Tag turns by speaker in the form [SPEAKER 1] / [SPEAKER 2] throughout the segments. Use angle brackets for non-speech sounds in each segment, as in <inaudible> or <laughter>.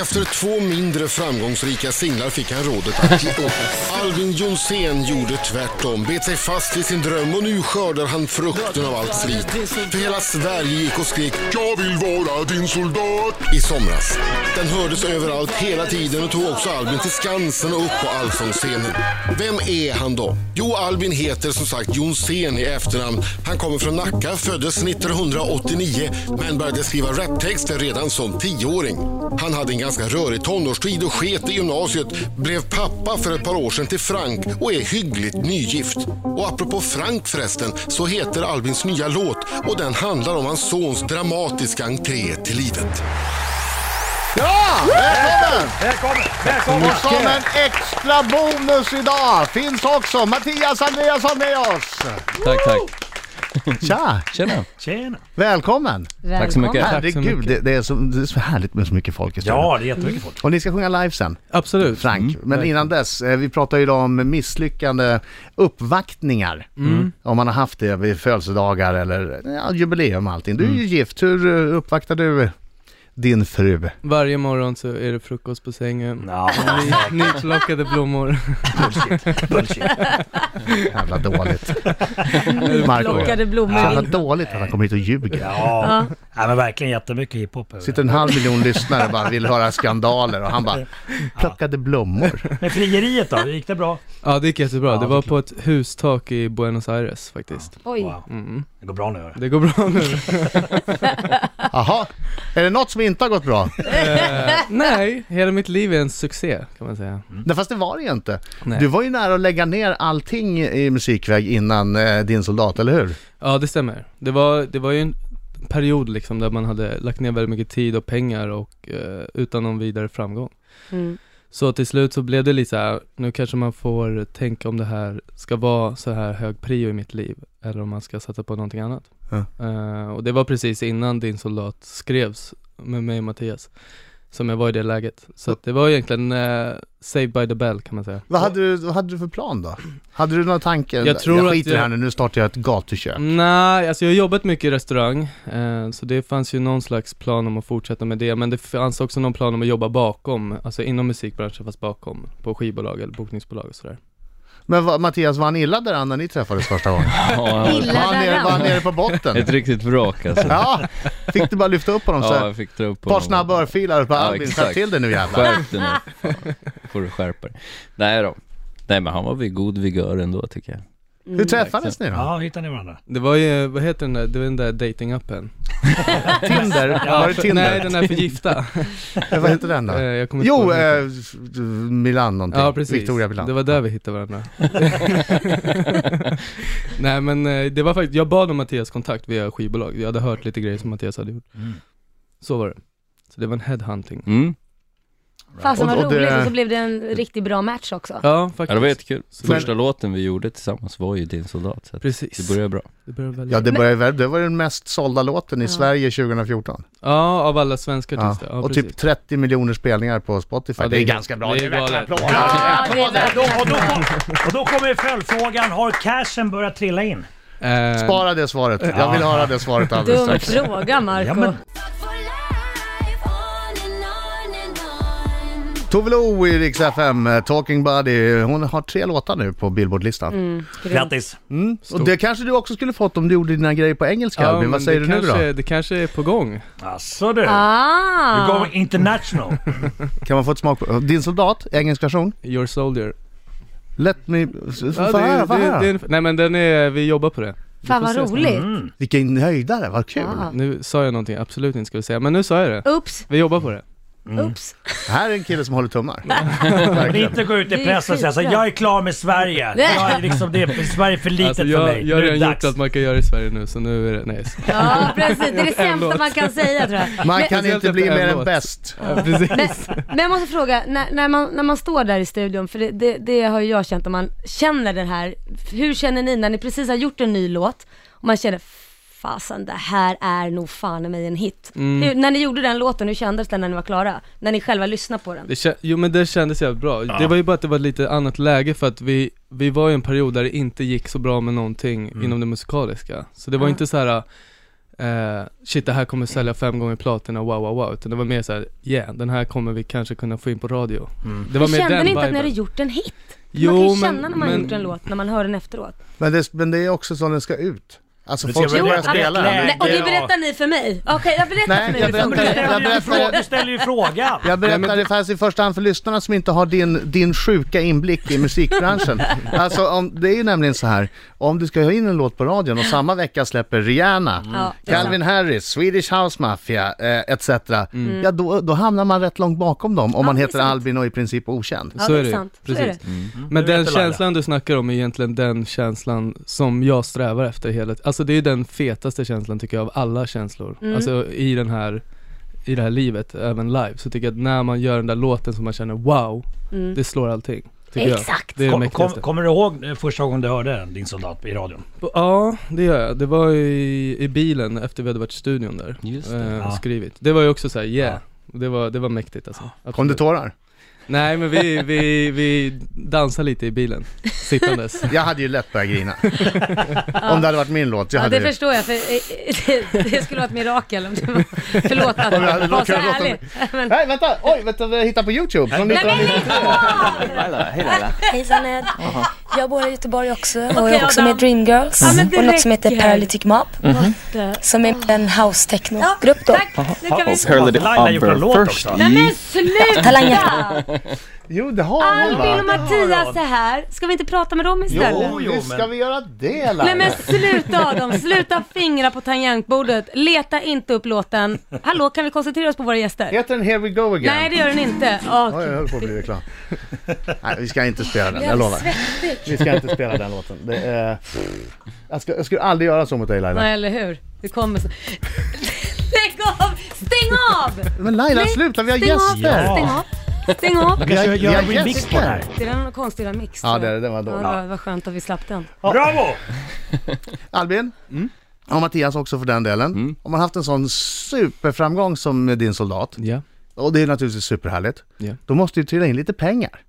[SPEAKER 1] Efter två mindre framgångsrika singlar fick han rådet att ge upp. Alvin Jonsén gjorde tvärtom, bet sig fast vid sin dröm och nu skördar han frukten av allt slit. För hela Sverige gick och skrek “Jag vill vara din soldat” i somras. Den hördes överallt hela tiden och tog också Albin till Skansen och upp på Allsångsscenen. Vem är han då? Jo, Albin heter som sagt Jonsén i efternamn. Han kommer från Nacka, föddes 1989 men började skriva raptexter redan som tioåring. Han hade en ganska rörig tonårstid och sket i gymnasiet, blev pappa för ett par år sedan till Frank och är hyggligt nygift. Och apropå Frank förresten, så heter Albins nya låt och den handlar om hans sons dramatiska entré till livet.
[SPEAKER 2] Ja! Välkommen!
[SPEAKER 3] Välkommen! Välkommen!
[SPEAKER 2] Och som en extra bonus idag finns också Mattias Andreasson med oss.
[SPEAKER 4] Tack, tack.
[SPEAKER 2] Tja!
[SPEAKER 4] Tjena.
[SPEAKER 3] Tjena!
[SPEAKER 2] Välkommen!
[SPEAKER 4] Tack så mycket. Tack så
[SPEAKER 2] Herregud,
[SPEAKER 4] mycket.
[SPEAKER 2] det, det, är så, det är så härligt med så mycket folk i studion.
[SPEAKER 3] Ja, det är jättemycket folk.
[SPEAKER 2] Och ni ska sjunga live sen,
[SPEAKER 4] Absolut.
[SPEAKER 2] Frank. Men innan dess, eh, vi pratar ju idag om misslyckande uppvaktningar.
[SPEAKER 4] Mm.
[SPEAKER 2] Om man har haft det vid födelsedagar eller ja, jubileum och allting. Du är
[SPEAKER 4] Mm.
[SPEAKER 2] ju gift, hur eh, uppvaktar du din fru?
[SPEAKER 5] Varje morgon så är det frukost på sängen.
[SPEAKER 3] Ja,
[SPEAKER 5] Ny, nyplockade blommor.
[SPEAKER 2] Jävla
[SPEAKER 3] <laughs>
[SPEAKER 2] dåligt.
[SPEAKER 6] Plockade blommor
[SPEAKER 2] Jävla
[SPEAKER 6] in.
[SPEAKER 2] dåligt att han kommer hit och ljuger.
[SPEAKER 3] ja. ja men verkligen jättemycket hiphop. över det.
[SPEAKER 2] Sitter en halv miljon lyssnare och bara vill höra skandaler och han bara plockade blommor.
[SPEAKER 3] Men frieriet då, gick det bra?
[SPEAKER 5] Ja det gick jättebra,
[SPEAKER 3] Ja,
[SPEAKER 5] det var
[SPEAKER 3] det-
[SPEAKER 5] på ett hustak i Buenos Aires faktiskt.
[SPEAKER 6] Oj.
[SPEAKER 5] Mm.
[SPEAKER 3] Det går bra nu. hörru.
[SPEAKER 5] Det går bra nu.
[SPEAKER 4] <laughs>
[SPEAKER 2] Jaha, är det något som inte har gått bra?
[SPEAKER 5] Eh, nej, hela mitt liv är en succé kan man säga.
[SPEAKER 4] Mm.
[SPEAKER 2] Nej fast det var det ju inte.
[SPEAKER 5] Nej.
[SPEAKER 2] Du var ju nära att lägga ner allting i musikväg innan eh, din soldat, eller hur?
[SPEAKER 5] Ja det stämmer. Det var, det var ju en period liksom där man hade lagt ner väldigt mycket tid och pengar och eh, utan någon vidare framgång.
[SPEAKER 6] Mm.
[SPEAKER 5] Så till slut så blev det lite så här, nu kanske man får tänka om det här ska vara så här hög prio i mitt liv eller om man ska sätta på någonting annat.
[SPEAKER 2] Ja.
[SPEAKER 5] Eh, och det var precis innan Din soldat skrevs med mig och Mattias som jag var i det läget. Så att det var egentligen eh, Saved by the bell kan man säga.
[SPEAKER 2] Vad hade, du, vad hade du för plan då? Hade du någon tanke?
[SPEAKER 5] Jag tror
[SPEAKER 2] jag
[SPEAKER 5] att
[SPEAKER 2] skiter i det här
[SPEAKER 5] jag-
[SPEAKER 2] nu, nu startar jag ett gatukök.
[SPEAKER 5] Nej, alltså jag har jobbat mycket i restaurang, eh, så det fanns ju någon slags plan om att fortsätta med det, men det fanns också någon plan om att jobba bakom, alltså inom musikbranschen fast bakom, på skivbolag eller bokningsbolag och sådär.
[SPEAKER 2] Men vad, Mattias, var han illa däran när ni träffades första gången?
[SPEAKER 4] Ja,
[SPEAKER 2] Var han nere, var han nere på botten?
[SPEAKER 4] ett riktigt vrak alltså.
[SPEAKER 2] Ja, fick du bara lyfta upp honom så
[SPEAKER 4] Ja,
[SPEAKER 2] här?
[SPEAKER 4] jag fick dra upp
[SPEAKER 2] Ett par snabba örfilar och bara
[SPEAKER 4] Ja,
[SPEAKER 2] Albin,
[SPEAKER 4] exakt.
[SPEAKER 2] skärp till dig nu jävlar.
[SPEAKER 4] Skärp dig nu. Fan, får du skärpa dig. Nej då. Nej men han var vid god vigör ändå tycker jag.
[SPEAKER 2] Hur träffades ni då?
[SPEAKER 3] Ja, hittar ni varandra?
[SPEAKER 5] Det var ju, vad heter den där, det var den där datingappen
[SPEAKER 2] <laughs> Tinder? Var det
[SPEAKER 5] Nej,
[SPEAKER 2] Tinder? <laughs>
[SPEAKER 5] den där för gifta.
[SPEAKER 2] Eh, Vad heter den
[SPEAKER 5] Eh,
[SPEAKER 2] då?
[SPEAKER 5] jag kommer inte ihåg
[SPEAKER 2] Jo,
[SPEAKER 5] vad den
[SPEAKER 2] eh, Milan någonting.
[SPEAKER 5] Ja precis,
[SPEAKER 2] Victoria Milan.
[SPEAKER 5] det var där vi
[SPEAKER 2] <laughs>
[SPEAKER 5] hittade varandra Nej men eh, det var faktiskt, jag bad om Mattias kontakt via skivbolag, jag hade hört lite grejer som Mattias hade gjort
[SPEAKER 2] Mm.
[SPEAKER 5] Så var det, så det var en headhunting
[SPEAKER 4] Mm.
[SPEAKER 6] Fasen vad
[SPEAKER 2] Och- och det-
[SPEAKER 6] roligt och så blev det en riktigt bra match också.
[SPEAKER 5] Ja faktiskt
[SPEAKER 4] Ja det var jättekul.
[SPEAKER 5] Men-
[SPEAKER 4] Första låten vi gjorde tillsammans var ju Din soldat. Så att
[SPEAKER 5] Precis
[SPEAKER 4] det började bra.
[SPEAKER 5] Det började väldigt...
[SPEAKER 2] Ja,
[SPEAKER 5] ja,
[SPEAKER 2] det, började, väl- det var den mest sålda låten i
[SPEAKER 6] Ja.
[SPEAKER 2] Sverige 2014.
[SPEAKER 5] av alla svenska
[SPEAKER 2] Ja.
[SPEAKER 5] artister, ja,
[SPEAKER 2] Och
[SPEAKER 5] precis
[SPEAKER 2] typ 30 miljoner spelningar på Spotify.
[SPEAKER 5] Ja,
[SPEAKER 2] det,
[SPEAKER 5] det
[SPEAKER 2] är
[SPEAKER 5] är-
[SPEAKER 2] ganska bra.
[SPEAKER 5] det är
[SPEAKER 2] Det är verkligen
[SPEAKER 5] galet.
[SPEAKER 2] applåder.
[SPEAKER 6] Ja, det är
[SPEAKER 3] Då,
[SPEAKER 6] verkligen-
[SPEAKER 3] och, då kom, och då kommer följdfrågan, har cashen börjat trilla in?
[SPEAKER 5] Eh,
[SPEAKER 2] Spara det svaret. Jag vill höra det
[SPEAKER 5] <laughs>
[SPEAKER 2] svaret alldeles
[SPEAKER 6] Dum
[SPEAKER 2] strax.
[SPEAKER 6] fråga
[SPEAKER 3] Ja,
[SPEAKER 6] Marco.
[SPEAKER 3] men-
[SPEAKER 2] Tove Lo i Rix FM, eh, Talking Buddy. Hon har tre låtar nu på Billboardlistan.
[SPEAKER 3] Grattis!
[SPEAKER 2] Mm. Och
[SPEAKER 5] Stort.
[SPEAKER 2] det kanske du också skulle fått om du gjorde dina grejer på engelska
[SPEAKER 5] ja,
[SPEAKER 2] Albin.
[SPEAKER 5] men
[SPEAKER 2] Vad säger du
[SPEAKER 5] det
[SPEAKER 2] nu då?
[SPEAKER 5] kanske, Det kanske är på gång
[SPEAKER 3] Jaså du? Du
[SPEAKER 6] Ah.
[SPEAKER 3] går
[SPEAKER 5] <laughs>
[SPEAKER 3] international.
[SPEAKER 2] Kan man få ett smak på? Din soldat, engelsk version. Your
[SPEAKER 5] Soldier.
[SPEAKER 2] Let me... Få
[SPEAKER 5] Ja, det,
[SPEAKER 2] höra, få
[SPEAKER 5] det, det,
[SPEAKER 2] höra.
[SPEAKER 5] är en- Nej men den är, vi jobbar på det Vi
[SPEAKER 6] Fan
[SPEAKER 5] får
[SPEAKER 6] vad
[SPEAKER 5] se snart.
[SPEAKER 6] roligt. Ah.
[SPEAKER 3] Mm.
[SPEAKER 2] Vilken höjdare, vad kul.
[SPEAKER 6] Ja.
[SPEAKER 5] Nu sa jag någonting jag absolut inte skulle säga, men nu sa jag det
[SPEAKER 6] Ups,
[SPEAKER 5] Vi jobbar på det
[SPEAKER 6] ups.
[SPEAKER 2] Här är en kille som håller tummar.
[SPEAKER 3] Men
[SPEAKER 2] Verkligen.
[SPEAKER 3] inte gå ut
[SPEAKER 6] Det
[SPEAKER 3] i
[SPEAKER 6] är
[SPEAKER 3] pressen och säga så här,
[SPEAKER 6] skitbra.
[SPEAKER 3] jag är klar med Sverige. Jag är liksom, det är, Sverige är för litet
[SPEAKER 5] Alltså, jag,
[SPEAKER 3] för mig.
[SPEAKER 5] Jag har
[SPEAKER 3] nu är det
[SPEAKER 5] redan gjort
[SPEAKER 3] dags.
[SPEAKER 5] allt man kan göra i Sverige nu, så nu är det, nej.
[SPEAKER 6] <laughs>
[SPEAKER 5] så-
[SPEAKER 6] Ja precis, det är det sämsta
[SPEAKER 5] låt.
[SPEAKER 6] man kan säga tror jag.
[SPEAKER 2] Man kan
[SPEAKER 5] Speciellt
[SPEAKER 2] inte bli
[SPEAKER 5] efter en
[SPEAKER 2] mer än
[SPEAKER 5] låt.
[SPEAKER 2] bäst.
[SPEAKER 5] Ja, precis.
[SPEAKER 6] Men, men jag måste fråga, när, när, man, när man står där i studion, för det, det, det har ju jag känt om man känner den här, hur känner ni när ni precis har gjort en ny låt och man känner fasen det här är nog fan i mig en hit.
[SPEAKER 5] Mm.
[SPEAKER 6] Hur, när ni gjorde den låten, hur kändes det när ni var klara? När ni själva lyssnade på den?
[SPEAKER 5] Det kän- jo men det kändes jävligt bra. Det var ju bara att det var ett lite annat läge för att vi, vi
[SPEAKER 3] Mm.
[SPEAKER 5] var i en period där det inte gick så bra med någonting inom det musikaliska. Så det var inte så här eh, shit det här kommer sälja fem gånger platina, wow wow wow. Utan det var mer såhär, yeah den här kommer vi kanske kunna få in på radio.
[SPEAKER 3] Mm.
[SPEAKER 5] Det var
[SPEAKER 6] Men
[SPEAKER 5] mer
[SPEAKER 6] kände
[SPEAKER 5] den
[SPEAKER 6] ni inte att ni
[SPEAKER 5] viben.
[SPEAKER 6] hade gjort en hit?
[SPEAKER 5] Jo,
[SPEAKER 6] man kan ju
[SPEAKER 5] men-
[SPEAKER 6] känna när man har
[SPEAKER 5] men-
[SPEAKER 6] gjort en låt, när man hör den efteråt.
[SPEAKER 2] Men det, men det är också så den ska ut. Alltså
[SPEAKER 3] Men
[SPEAKER 2] folk
[SPEAKER 3] ser
[SPEAKER 2] ska
[SPEAKER 3] vi
[SPEAKER 2] börja
[SPEAKER 3] rätt
[SPEAKER 2] spela
[SPEAKER 3] läge?
[SPEAKER 2] den.
[SPEAKER 6] Nej, och det
[SPEAKER 3] ja.
[SPEAKER 6] berättar ni för mig. Okej, jag berättar
[SPEAKER 2] Nej,
[SPEAKER 6] för mig
[SPEAKER 2] jag
[SPEAKER 6] hur det
[SPEAKER 2] berättar-
[SPEAKER 6] funkar.
[SPEAKER 2] jag
[SPEAKER 3] Du
[SPEAKER 2] berättar-
[SPEAKER 3] frågar- Du ställer ju frågan.
[SPEAKER 2] Jag
[SPEAKER 5] Nej,
[SPEAKER 2] berättar
[SPEAKER 5] men-
[SPEAKER 2] det fanns i första hand för lyssnarna som inte har din, din sjuka inblick i
[SPEAKER 5] <laughs>
[SPEAKER 2] musikbranschen. alltså om, det är ju nämligen så här, om du ska ha in en låt på radion och samma vecka släpper Rihanna,
[SPEAKER 6] Ja, det är
[SPEAKER 2] Calvin Harris, Swedish House Mafia eh, etc.
[SPEAKER 5] Mm.
[SPEAKER 2] Ja då, då hamnar man rätt långt bakom dem om man
[SPEAKER 6] Mm. det är
[SPEAKER 2] heter
[SPEAKER 6] sant.
[SPEAKER 2] Albin och i princip okänd.
[SPEAKER 6] Ja,
[SPEAKER 5] Så
[SPEAKER 6] det
[SPEAKER 5] är
[SPEAKER 6] är
[SPEAKER 5] det ju.
[SPEAKER 6] sant. Så är det.
[SPEAKER 5] Men
[SPEAKER 3] Det vet
[SPEAKER 5] den
[SPEAKER 3] du, Laila.
[SPEAKER 5] känslan du snackar om är egentligen den känslan som jag strävar efter hela Alltså det är den fetaste känslan tycker jag av alla känslor. Alltså i den här i det här livet, även live, så tycker jag att när man gör den där låten som man känner wow, det slår allting. Tycker
[SPEAKER 6] Mm. Exakt.
[SPEAKER 5] Jag. Det är det
[SPEAKER 3] Kom, kom,
[SPEAKER 5] mäktigaste.
[SPEAKER 3] kommer du ihåg eh, första gången du hörde den, din soldat, i radion?
[SPEAKER 5] Ja, det gör jag. Det var i, i bilen efter vi hade varit i studion där
[SPEAKER 4] Just det.
[SPEAKER 5] eh,
[SPEAKER 3] Ja.
[SPEAKER 5] och skrivit. Det var ju också såhär yeah, det, var, det var mäktigt alltså.
[SPEAKER 2] Kom det
[SPEAKER 5] Absolut.
[SPEAKER 2] tårar?
[SPEAKER 5] Nej men vi, vi, vi dansade lite i bilen, sittandes.
[SPEAKER 2] Jag hade ju lätt börjat
[SPEAKER 6] <laughs>
[SPEAKER 2] grina. om det hade varit min låt. Jag
[SPEAKER 6] Ja,
[SPEAKER 2] hade
[SPEAKER 6] det förstår jag, för eh, <laughs> det, det skulle vara ett mirakel om det var... <laughs> Förlåt att
[SPEAKER 2] hade
[SPEAKER 6] jag var
[SPEAKER 2] lockat
[SPEAKER 6] så
[SPEAKER 2] låten.
[SPEAKER 6] ärlig. Men,
[SPEAKER 2] Nej vänta, oj vänta vi hittar på Youtube. Från
[SPEAKER 6] nej men
[SPEAKER 2] 1990.
[SPEAKER 6] lägg av!
[SPEAKER 4] Hej Laila.
[SPEAKER 7] Hejsan Ed. Jag bor i Göteborg också och jag
[SPEAKER 6] Okej,
[SPEAKER 7] är också med
[SPEAKER 6] Adam.
[SPEAKER 7] i Dreamgirls
[SPEAKER 6] Ja, men det
[SPEAKER 7] och något som heter
[SPEAKER 6] räcker.
[SPEAKER 7] Paralytic Mob
[SPEAKER 6] Det-
[SPEAKER 7] som är en house
[SPEAKER 6] Ja,
[SPEAKER 7] techno-grupp då.
[SPEAKER 6] Tack, nu kan vi...
[SPEAKER 8] Herald
[SPEAKER 3] Laila gjorde en låt också.
[SPEAKER 6] Nej men sluta!
[SPEAKER 7] Talangen.
[SPEAKER 2] Jo det har hon
[SPEAKER 6] Albin och
[SPEAKER 2] va?
[SPEAKER 6] Mattias är här, ska vi inte prata med dem istället?
[SPEAKER 2] Jo,
[SPEAKER 3] Jo,
[SPEAKER 2] visst
[SPEAKER 3] men-
[SPEAKER 2] ska vi göra det
[SPEAKER 6] Nej men
[SPEAKER 2] Laila?
[SPEAKER 6] sluta Adam, sluta fingra på tangentbordet, leta inte upp låten. Hallå, kan vi koncentrera oss på våra gäster?
[SPEAKER 2] Heter den Here We Go Again?
[SPEAKER 6] Nej det gör den inte. Åh,
[SPEAKER 2] Oj, jag höll på att bli
[SPEAKER 6] <laughs>
[SPEAKER 2] reklam. Nej, vi ska inte spela den, jag lovar. Vi ska inte spela den låten. Det är... jag, ska, jag skulle aldrig göra så mot dig Laila.
[SPEAKER 6] Nej eller hur? Det kommer så. <laughs> Lägg av! Stäng av!
[SPEAKER 2] Men Laila,
[SPEAKER 6] Nej,
[SPEAKER 2] sluta, vi har
[SPEAKER 6] Stäng av!
[SPEAKER 2] gäster!
[SPEAKER 6] Stäng av! Stäng av!
[SPEAKER 3] Du kanske
[SPEAKER 2] Jag-
[SPEAKER 3] gör en
[SPEAKER 2] jag
[SPEAKER 3] remix på
[SPEAKER 2] älskar.
[SPEAKER 3] det här.
[SPEAKER 6] <laughs> Det är någon konstig lilla mix.
[SPEAKER 2] Ja,
[SPEAKER 6] tror jag.
[SPEAKER 2] det- den var dålig.
[SPEAKER 6] Ja, det var, det var skönt att vi slapp den.
[SPEAKER 3] Bravo!
[SPEAKER 2] Albin,
[SPEAKER 3] Mm.
[SPEAKER 2] och Mattias också för den delen. Om man haft en sån superframgång som med din soldat,
[SPEAKER 5] Ja,
[SPEAKER 2] och det är naturligtvis superhärligt,
[SPEAKER 5] Ja.
[SPEAKER 2] då måste du trilla in lite pengar.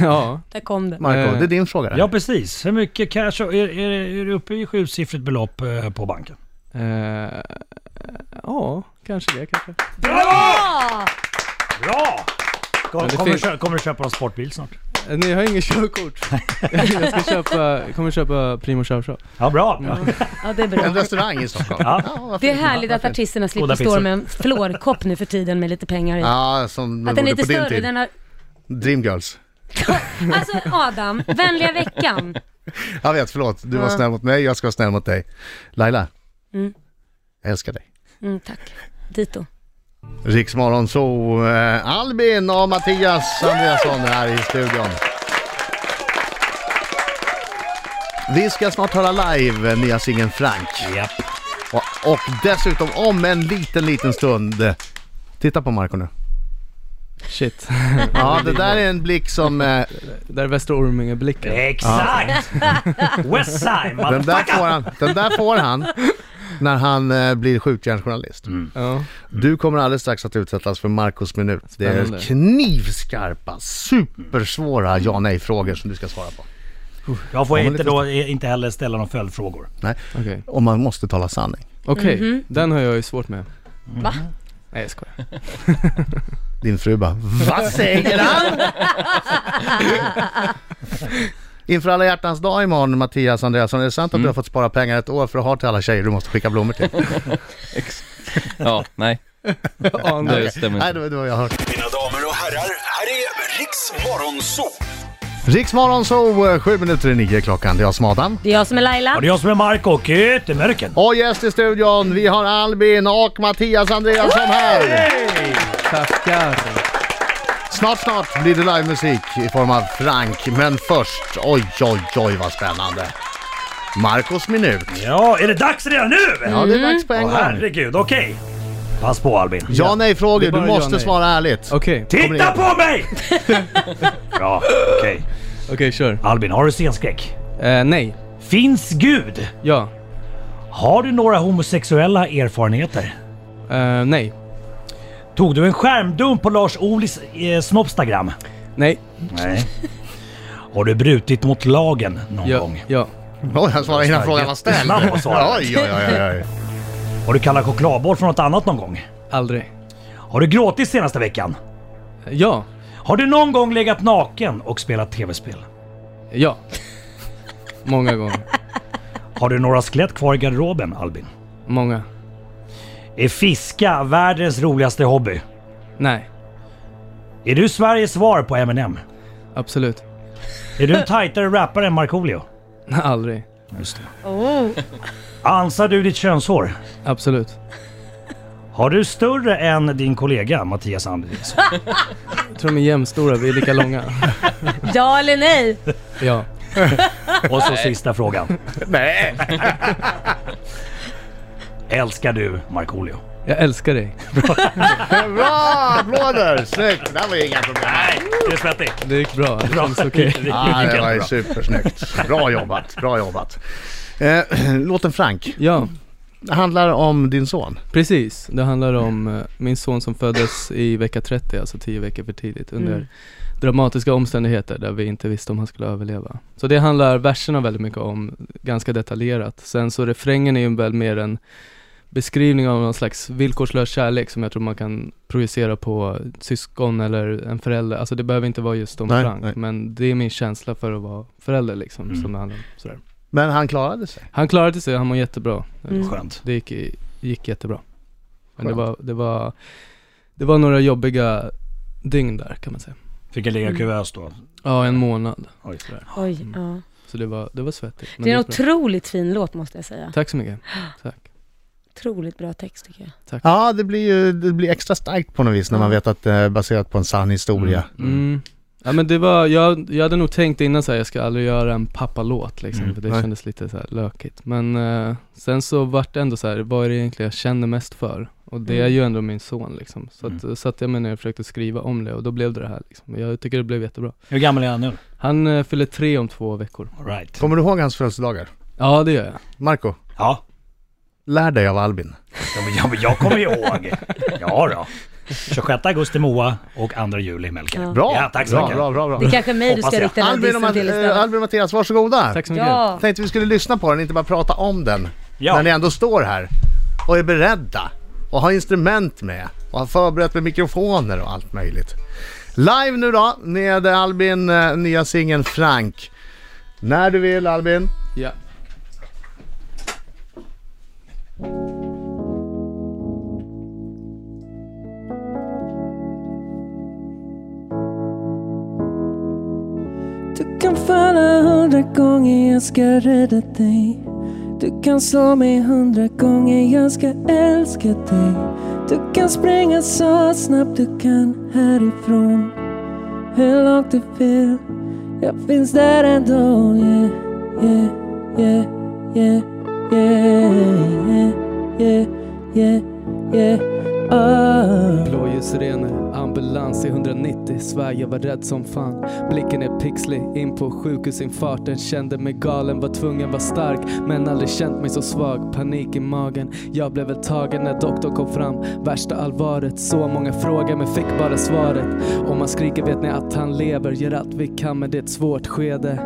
[SPEAKER 5] ja.
[SPEAKER 6] Där kom den.
[SPEAKER 2] Marco,
[SPEAKER 5] Eh.
[SPEAKER 2] det är din fråga. där.
[SPEAKER 3] Ja precis. Hur mycket cash, är, är, är, det- är det uppe i sjusiffrigt belopp eh, på banken?
[SPEAKER 5] Eh, ja, kanske det kanske.
[SPEAKER 6] Bra!
[SPEAKER 3] Bra! Kom,
[SPEAKER 5] det
[SPEAKER 3] kommer, du
[SPEAKER 5] finns-
[SPEAKER 3] köpa, kommer du köpa någon sportbil snart?
[SPEAKER 5] Eh, Nej, jag har inget körkort. <laughs> jag ska köpa, jag kommer köpa Primo Chow Chow.
[SPEAKER 3] Ja, bra.
[SPEAKER 6] Ja det är
[SPEAKER 2] En
[SPEAKER 6] bra.
[SPEAKER 2] restaurang i Stockholm.
[SPEAKER 3] Ja.
[SPEAKER 2] varför
[SPEAKER 6] Det är
[SPEAKER 2] inte?
[SPEAKER 6] härligt att
[SPEAKER 2] Varför inte?
[SPEAKER 6] artisterna slipper
[SPEAKER 3] Goda
[SPEAKER 6] stå
[SPEAKER 3] pizzor.
[SPEAKER 6] med en fluorkopp nu för tiden med lite pengar i.
[SPEAKER 2] Ja, som det
[SPEAKER 6] Att den är
[SPEAKER 2] borde på
[SPEAKER 6] lite
[SPEAKER 2] din
[SPEAKER 6] större,
[SPEAKER 2] tid.
[SPEAKER 6] den har...
[SPEAKER 2] Dreamgirls.
[SPEAKER 6] Alltså Adam, vänliga veckan.
[SPEAKER 2] Jag vet, förlåt. Du var
[SPEAKER 6] Ja.
[SPEAKER 2] snäll mot mig, jag ska vara snäll mot dig. Laila,
[SPEAKER 6] Mm.
[SPEAKER 2] jag älskar dig.
[SPEAKER 6] Mm, tack. Dito.
[SPEAKER 2] Riksmorgon så eh, Albin och Mattias Andreasson här i studion. Vi ska snart höra live eh, nya singeln Frank.
[SPEAKER 3] Japp.
[SPEAKER 2] Och, och dessutom om en liten, liten stund. eh, Titta på Marco nu.
[SPEAKER 5] Shit.
[SPEAKER 2] Ja, det där är en blick som... Eh,
[SPEAKER 5] Där är Västra Orminge-blicken.
[SPEAKER 3] Exakt! Westside,
[SPEAKER 2] den, där
[SPEAKER 3] motherfucker!
[SPEAKER 2] får han, den där får han när han eh, blir skjutjärnsjournalist.
[SPEAKER 5] Ja.
[SPEAKER 2] Du kommer alldeles strax att utsättas för Marcos minut. Det är
[SPEAKER 5] Spännande.
[SPEAKER 2] knivskarpa, supersvåra ja nej-frågor som du ska svara på.
[SPEAKER 3] Jag får
[SPEAKER 2] Ja, men
[SPEAKER 3] inte, då, eh, inte heller ställa några följdfrågor.
[SPEAKER 2] Nej.
[SPEAKER 5] Okej,
[SPEAKER 2] Och man måste tala sanning.
[SPEAKER 5] Okej, den har jag ju svårt med.
[SPEAKER 6] Va?
[SPEAKER 5] Nej jag skojar.
[SPEAKER 2] Din fru bara Vad säger han? <laughs> Inför alla hjärtans dag imorgon Mattias Andreasson, är det sant att du har fått spara pengar ett år för att ha till alla tjejer du måste skicka blommor till?
[SPEAKER 4] <laughs> Ja, nej. <laughs>
[SPEAKER 5] Ja, nej.
[SPEAKER 4] Det stämmer
[SPEAKER 2] Nej,
[SPEAKER 4] inte.
[SPEAKER 2] det var det var jag hörde.
[SPEAKER 8] Mina damer och herrar, här är Riks Morgonzoo!
[SPEAKER 2] Riksmorgon så, eh, sju minuter i nio klockan. Det är jag som är Adam.
[SPEAKER 6] Det är jag som är Laila.
[SPEAKER 3] Och det är jag som är Marco och Kötemörken.
[SPEAKER 2] Och gäst i studion, vi har Albin och Mattias Andreasson här.
[SPEAKER 5] Tackar.
[SPEAKER 2] Snart, snart blir det livemusik i form av Frank, men först, oj, oj, oj vad spännande. Marcos minut.
[SPEAKER 3] Ja, är det dags redan nu?
[SPEAKER 2] Ja, det är dags på en
[SPEAKER 5] Mm.
[SPEAKER 3] Åh,
[SPEAKER 2] gång.
[SPEAKER 3] herregud, okej. Pass på Albin.
[SPEAKER 2] Ja, nej
[SPEAKER 5] Det
[SPEAKER 2] frågor, du
[SPEAKER 5] är bara ja,
[SPEAKER 2] måste
[SPEAKER 5] nej.
[SPEAKER 2] svara ärligt.
[SPEAKER 5] Okej,
[SPEAKER 2] Kommer
[SPEAKER 3] Titta
[SPEAKER 2] igen.
[SPEAKER 3] på
[SPEAKER 2] <laughs>
[SPEAKER 3] mig! Bra, okej.
[SPEAKER 5] okej kör.
[SPEAKER 3] Albin, har du scenskräck?
[SPEAKER 5] Eh, nej,
[SPEAKER 3] Finns Gud?
[SPEAKER 5] ja,
[SPEAKER 3] Har du några homosexuella erfarenheter?
[SPEAKER 5] eh, nej,
[SPEAKER 3] Tog du en skärmdump på Lars Ohlys eh, Snopstagram?
[SPEAKER 5] nej,
[SPEAKER 3] Nej. <laughs> Har du brutit mot lagen någon
[SPEAKER 5] ja,
[SPEAKER 3] gång?
[SPEAKER 5] ja.
[SPEAKER 2] Oj, han svarade innan frågan var ställd.
[SPEAKER 3] Snabbt att svara.
[SPEAKER 2] Oj, oj, oj, oj.
[SPEAKER 3] Har du kalla chokladboll från något annat någon gång?
[SPEAKER 5] Aldrig.
[SPEAKER 3] Har du gråtit senaste veckan?
[SPEAKER 5] Ja.
[SPEAKER 3] Har du någon gång legat naken och spelat tv-spel?
[SPEAKER 5] Ja. Många gånger.
[SPEAKER 3] Har du några skelett kvar i garderoben, Albin?
[SPEAKER 5] Många.
[SPEAKER 3] Är fiska världens roligaste hobby?
[SPEAKER 5] Nej.
[SPEAKER 3] Är du Sveriges svar på Eminem?
[SPEAKER 5] Absolut.
[SPEAKER 3] Är <laughs> du en tajtare rappare än Markoolio?
[SPEAKER 5] Aldrig.
[SPEAKER 3] Just det.
[SPEAKER 6] Oh.
[SPEAKER 3] Ansar du ditt könshår?
[SPEAKER 5] Absolut.
[SPEAKER 3] Har du större än din kollega Mattias Andersson?
[SPEAKER 5] Jag tror de är jämnstora, vi är lika långa.
[SPEAKER 6] Ja eller nej?
[SPEAKER 5] Ja.
[SPEAKER 3] Och så sista frågan.
[SPEAKER 2] Nej.
[SPEAKER 3] Älskar du Markoolio?
[SPEAKER 5] Jag älskar dig.
[SPEAKER 2] Bra! Applåder! Snyggt! Det där var ju inga problem.
[SPEAKER 3] Nej, du är svettig.
[SPEAKER 5] Det gick bra. Det känns okej.
[SPEAKER 2] Ja, Ah, det var ju supersnyggt. Bra jobbat, bra jobbat. Eh, <clears throat> låten Frank
[SPEAKER 5] Ja,
[SPEAKER 2] handlar om din son.
[SPEAKER 5] precis. Det handlar om eh, min son som föddes i vecka 30, alltså 10 veckor för tidigt, under
[SPEAKER 6] Mm.
[SPEAKER 5] dramatiska omständigheter där vi inte visste om han skulle överleva. Så det handlar verserna väldigt mycket om, ganska detaljerat. Sen så refrängen är ju väl mer en beskrivning av någon slags villkorslös kärlek som jag tror man kan projicera på syskon eller en förälder. Alltså det behöver inte vara just om
[SPEAKER 2] Nej,
[SPEAKER 5] Frank,
[SPEAKER 2] nej. Mm.
[SPEAKER 5] men det är min känsla för att vara förälder liksom, som det handlar om. Sådär.
[SPEAKER 2] Men han klarade sig.
[SPEAKER 5] Han klarade sig, han mår jättebra.
[SPEAKER 6] Mm.
[SPEAKER 3] Skönt.
[SPEAKER 5] Det gick, gick jättebra. Men det
[SPEAKER 2] Skönt.
[SPEAKER 5] var, det, var, det var några jobbiga dygn där kan man säga.
[SPEAKER 3] Fick jag ligga i kuvös då?
[SPEAKER 5] Ja, en månad.
[SPEAKER 3] Oj.
[SPEAKER 6] Oj,
[SPEAKER 2] Mm.
[SPEAKER 6] ja.
[SPEAKER 5] Så det var, det var svettigt. men
[SPEAKER 6] Det är en
[SPEAKER 5] gick bra.
[SPEAKER 6] otroligt fin låt måste jag säga.
[SPEAKER 5] Tack så mycket.
[SPEAKER 6] <gasps>
[SPEAKER 5] Tack.
[SPEAKER 6] Otroligt bra text tycker jag.
[SPEAKER 2] Ja, det blir ju det blir extra starkt på något vis när man vet att det är baserat på en sann historia.
[SPEAKER 5] Mm. Ja men det var, jag, jag hade nog tänkt innan såhär, jag ska aldrig göra en pappalåt liksom, för det
[SPEAKER 2] Nej.
[SPEAKER 5] kändes lite såhär lökigt. Men eh, sen så vart det ändå såhär, vad är det egentligen jag känner mest för? Och det är ju ändå min son liksom. Så att, mm. satte jag mig ner och försökte skriva om det och då blev det det här liksom. Jag tycker det blev jättebra.
[SPEAKER 3] Hur gammal är han nu?
[SPEAKER 5] Han eh, fyller tre om två veckor.
[SPEAKER 3] All right.
[SPEAKER 2] Kommer du ihåg hans födelsedagar?
[SPEAKER 5] Ja det gör jag.
[SPEAKER 2] Marco,
[SPEAKER 3] Ja.
[SPEAKER 2] lär dig av Albin.
[SPEAKER 3] Ja, men, ja, men jag kommer ihåg. Ja då. 26 augusti Moa och 2 juli Melker.
[SPEAKER 6] Ja.
[SPEAKER 2] Bra!
[SPEAKER 3] Ja, tack så
[SPEAKER 2] bra,
[SPEAKER 3] mycket.
[SPEAKER 2] Bra, bra, bra.
[SPEAKER 6] Det är kanske är mig du
[SPEAKER 3] Hoppas
[SPEAKER 6] ska
[SPEAKER 3] jag.
[SPEAKER 6] rikta den här
[SPEAKER 2] Albin, och
[SPEAKER 6] dissen till
[SPEAKER 2] Matt- eh,
[SPEAKER 6] istället.
[SPEAKER 2] Albin och Mattias, varsågoda.
[SPEAKER 5] Tack så mycket.
[SPEAKER 6] Ja.
[SPEAKER 2] Tänkte vi skulle lyssna på den, inte bara prata om den.
[SPEAKER 3] Ja.
[SPEAKER 2] När ni ändå står här och är beredda och har instrument med och har förberett med mikrofoner och allt möjligt. Live nu då med Albin, eh, nya singeln Frank. När du vill Albin.
[SPEAKER 5] Ja.
[SPEAKER 9] Du kan falla hundra gånger, jag ska rädda dig. Du kan slå mig hundra gånger, jag ska älska dig. Du kan springa så snabbt du kan härifrån. Hur långt du vill, jag finns där ändå. Yeah, yeah, yeah, yeah, yeah, yeah, yeah, yeah, oh.
[SPEAKER 5] Blåljusrener, ambulans i 190, svär jag var rädd som fan. Blicken är pixlig, in på sjukhusinfarten. Kände mig galen, var tvungen vara stark. Men aldrig känt mig så svag, panik i magen. Jag blev väl tagen när doktorn kom fram. Värsta allvaret, så många frågor men fick bara svaret. Om man skriker vet ni att han lever, gör allt vi kan men det är ett svårt skede.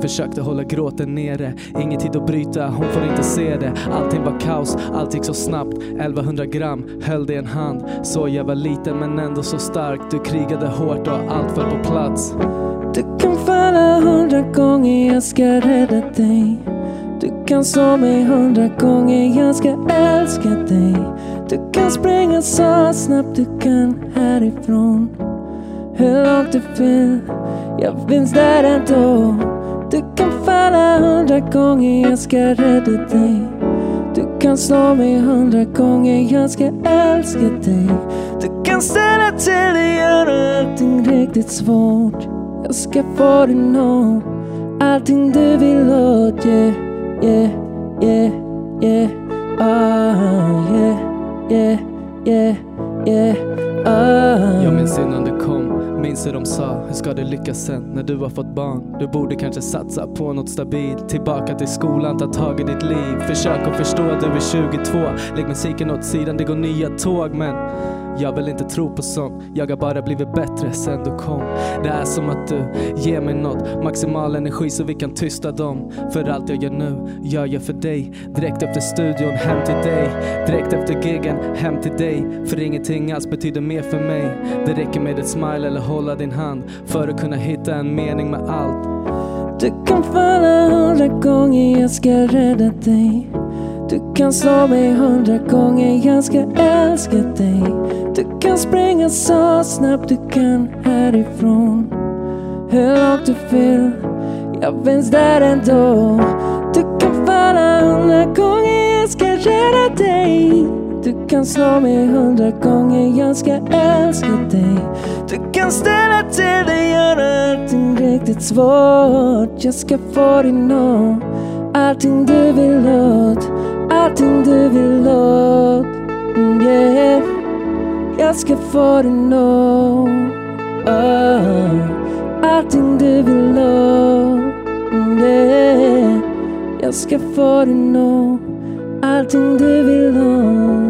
[SPEAKER 5] Försökte hålla gråten nere, ingen tid att bryta, hon får inte se det. Allting var kaos, allt gick så snabbt. 1100 gram, höll det i en hand. Så jag var liten men ändå så stark. Du krigade hårt och allt föll på plats.
[SPEAKER 9] Du kan falla hundra gånger, jag ska rädda dig. Du kan slå mig hundra gånger, jag ska älska dig. Du kan springa så snabbt du kan härifrån. Hur långt du vill, jag finns där ändå. Du kan falla hundra gånger, jag ska rädda dig. Du kan slå mig hundra gånger, jag ska älska dig. Du kan ställa till och göra allting riktigt svårt. Jag ska få dig nå allting du vill åt Yeah, yeah, yeah, yeah Ah, yeah, yeah, yeah, yeah Ah
[SPEAKER 5] Jag minns innan du kom, minns hur de sa, hur ska du lyckas sen? När du har fått barn. Du borde kanske satsa på något stabilt. Tillbaka till skolan, ta tag i ditt liv. Försök att förstå, du är 22. Lägg musiken åt sidan, det går nya tåg men jag vill inte tro på sånt. Jag har bara blivit bättre sen du kom. Det är som att du ger mig något. Maximal energi så vi kan tysta dem. För allt jag gör nu, gör jag för dig. Direkt efter studion, hem till dig. Direkt efter giggen, hem till dig. För ingenting alls betyder mer för mig. Det räcker med ett smile eller hålla din hand. För att kunna hitta en mening med allt.
[SPEAKER 9] Du kan falla hundra gånger, jag ska rädda dig. Du kan slå mig hundra gånger, jag ska älska dig. Du kan springa så snabbt du kan härifrån. Hur långt du vill, jag finns där ändå. Du kan falla hundra gånger, jag ska rädda dig. Du kan slå mig hundra gånger, jag ska älska dig. Du kan ställa till det, göra allting riktigt svårt. Jag ska få dig nå allting du vill åt, allting du vill åt. Yeah. Jag ska få dig nå oh. allting du vill åt. Yeah. Jag ska få dig nå allting du vill åt.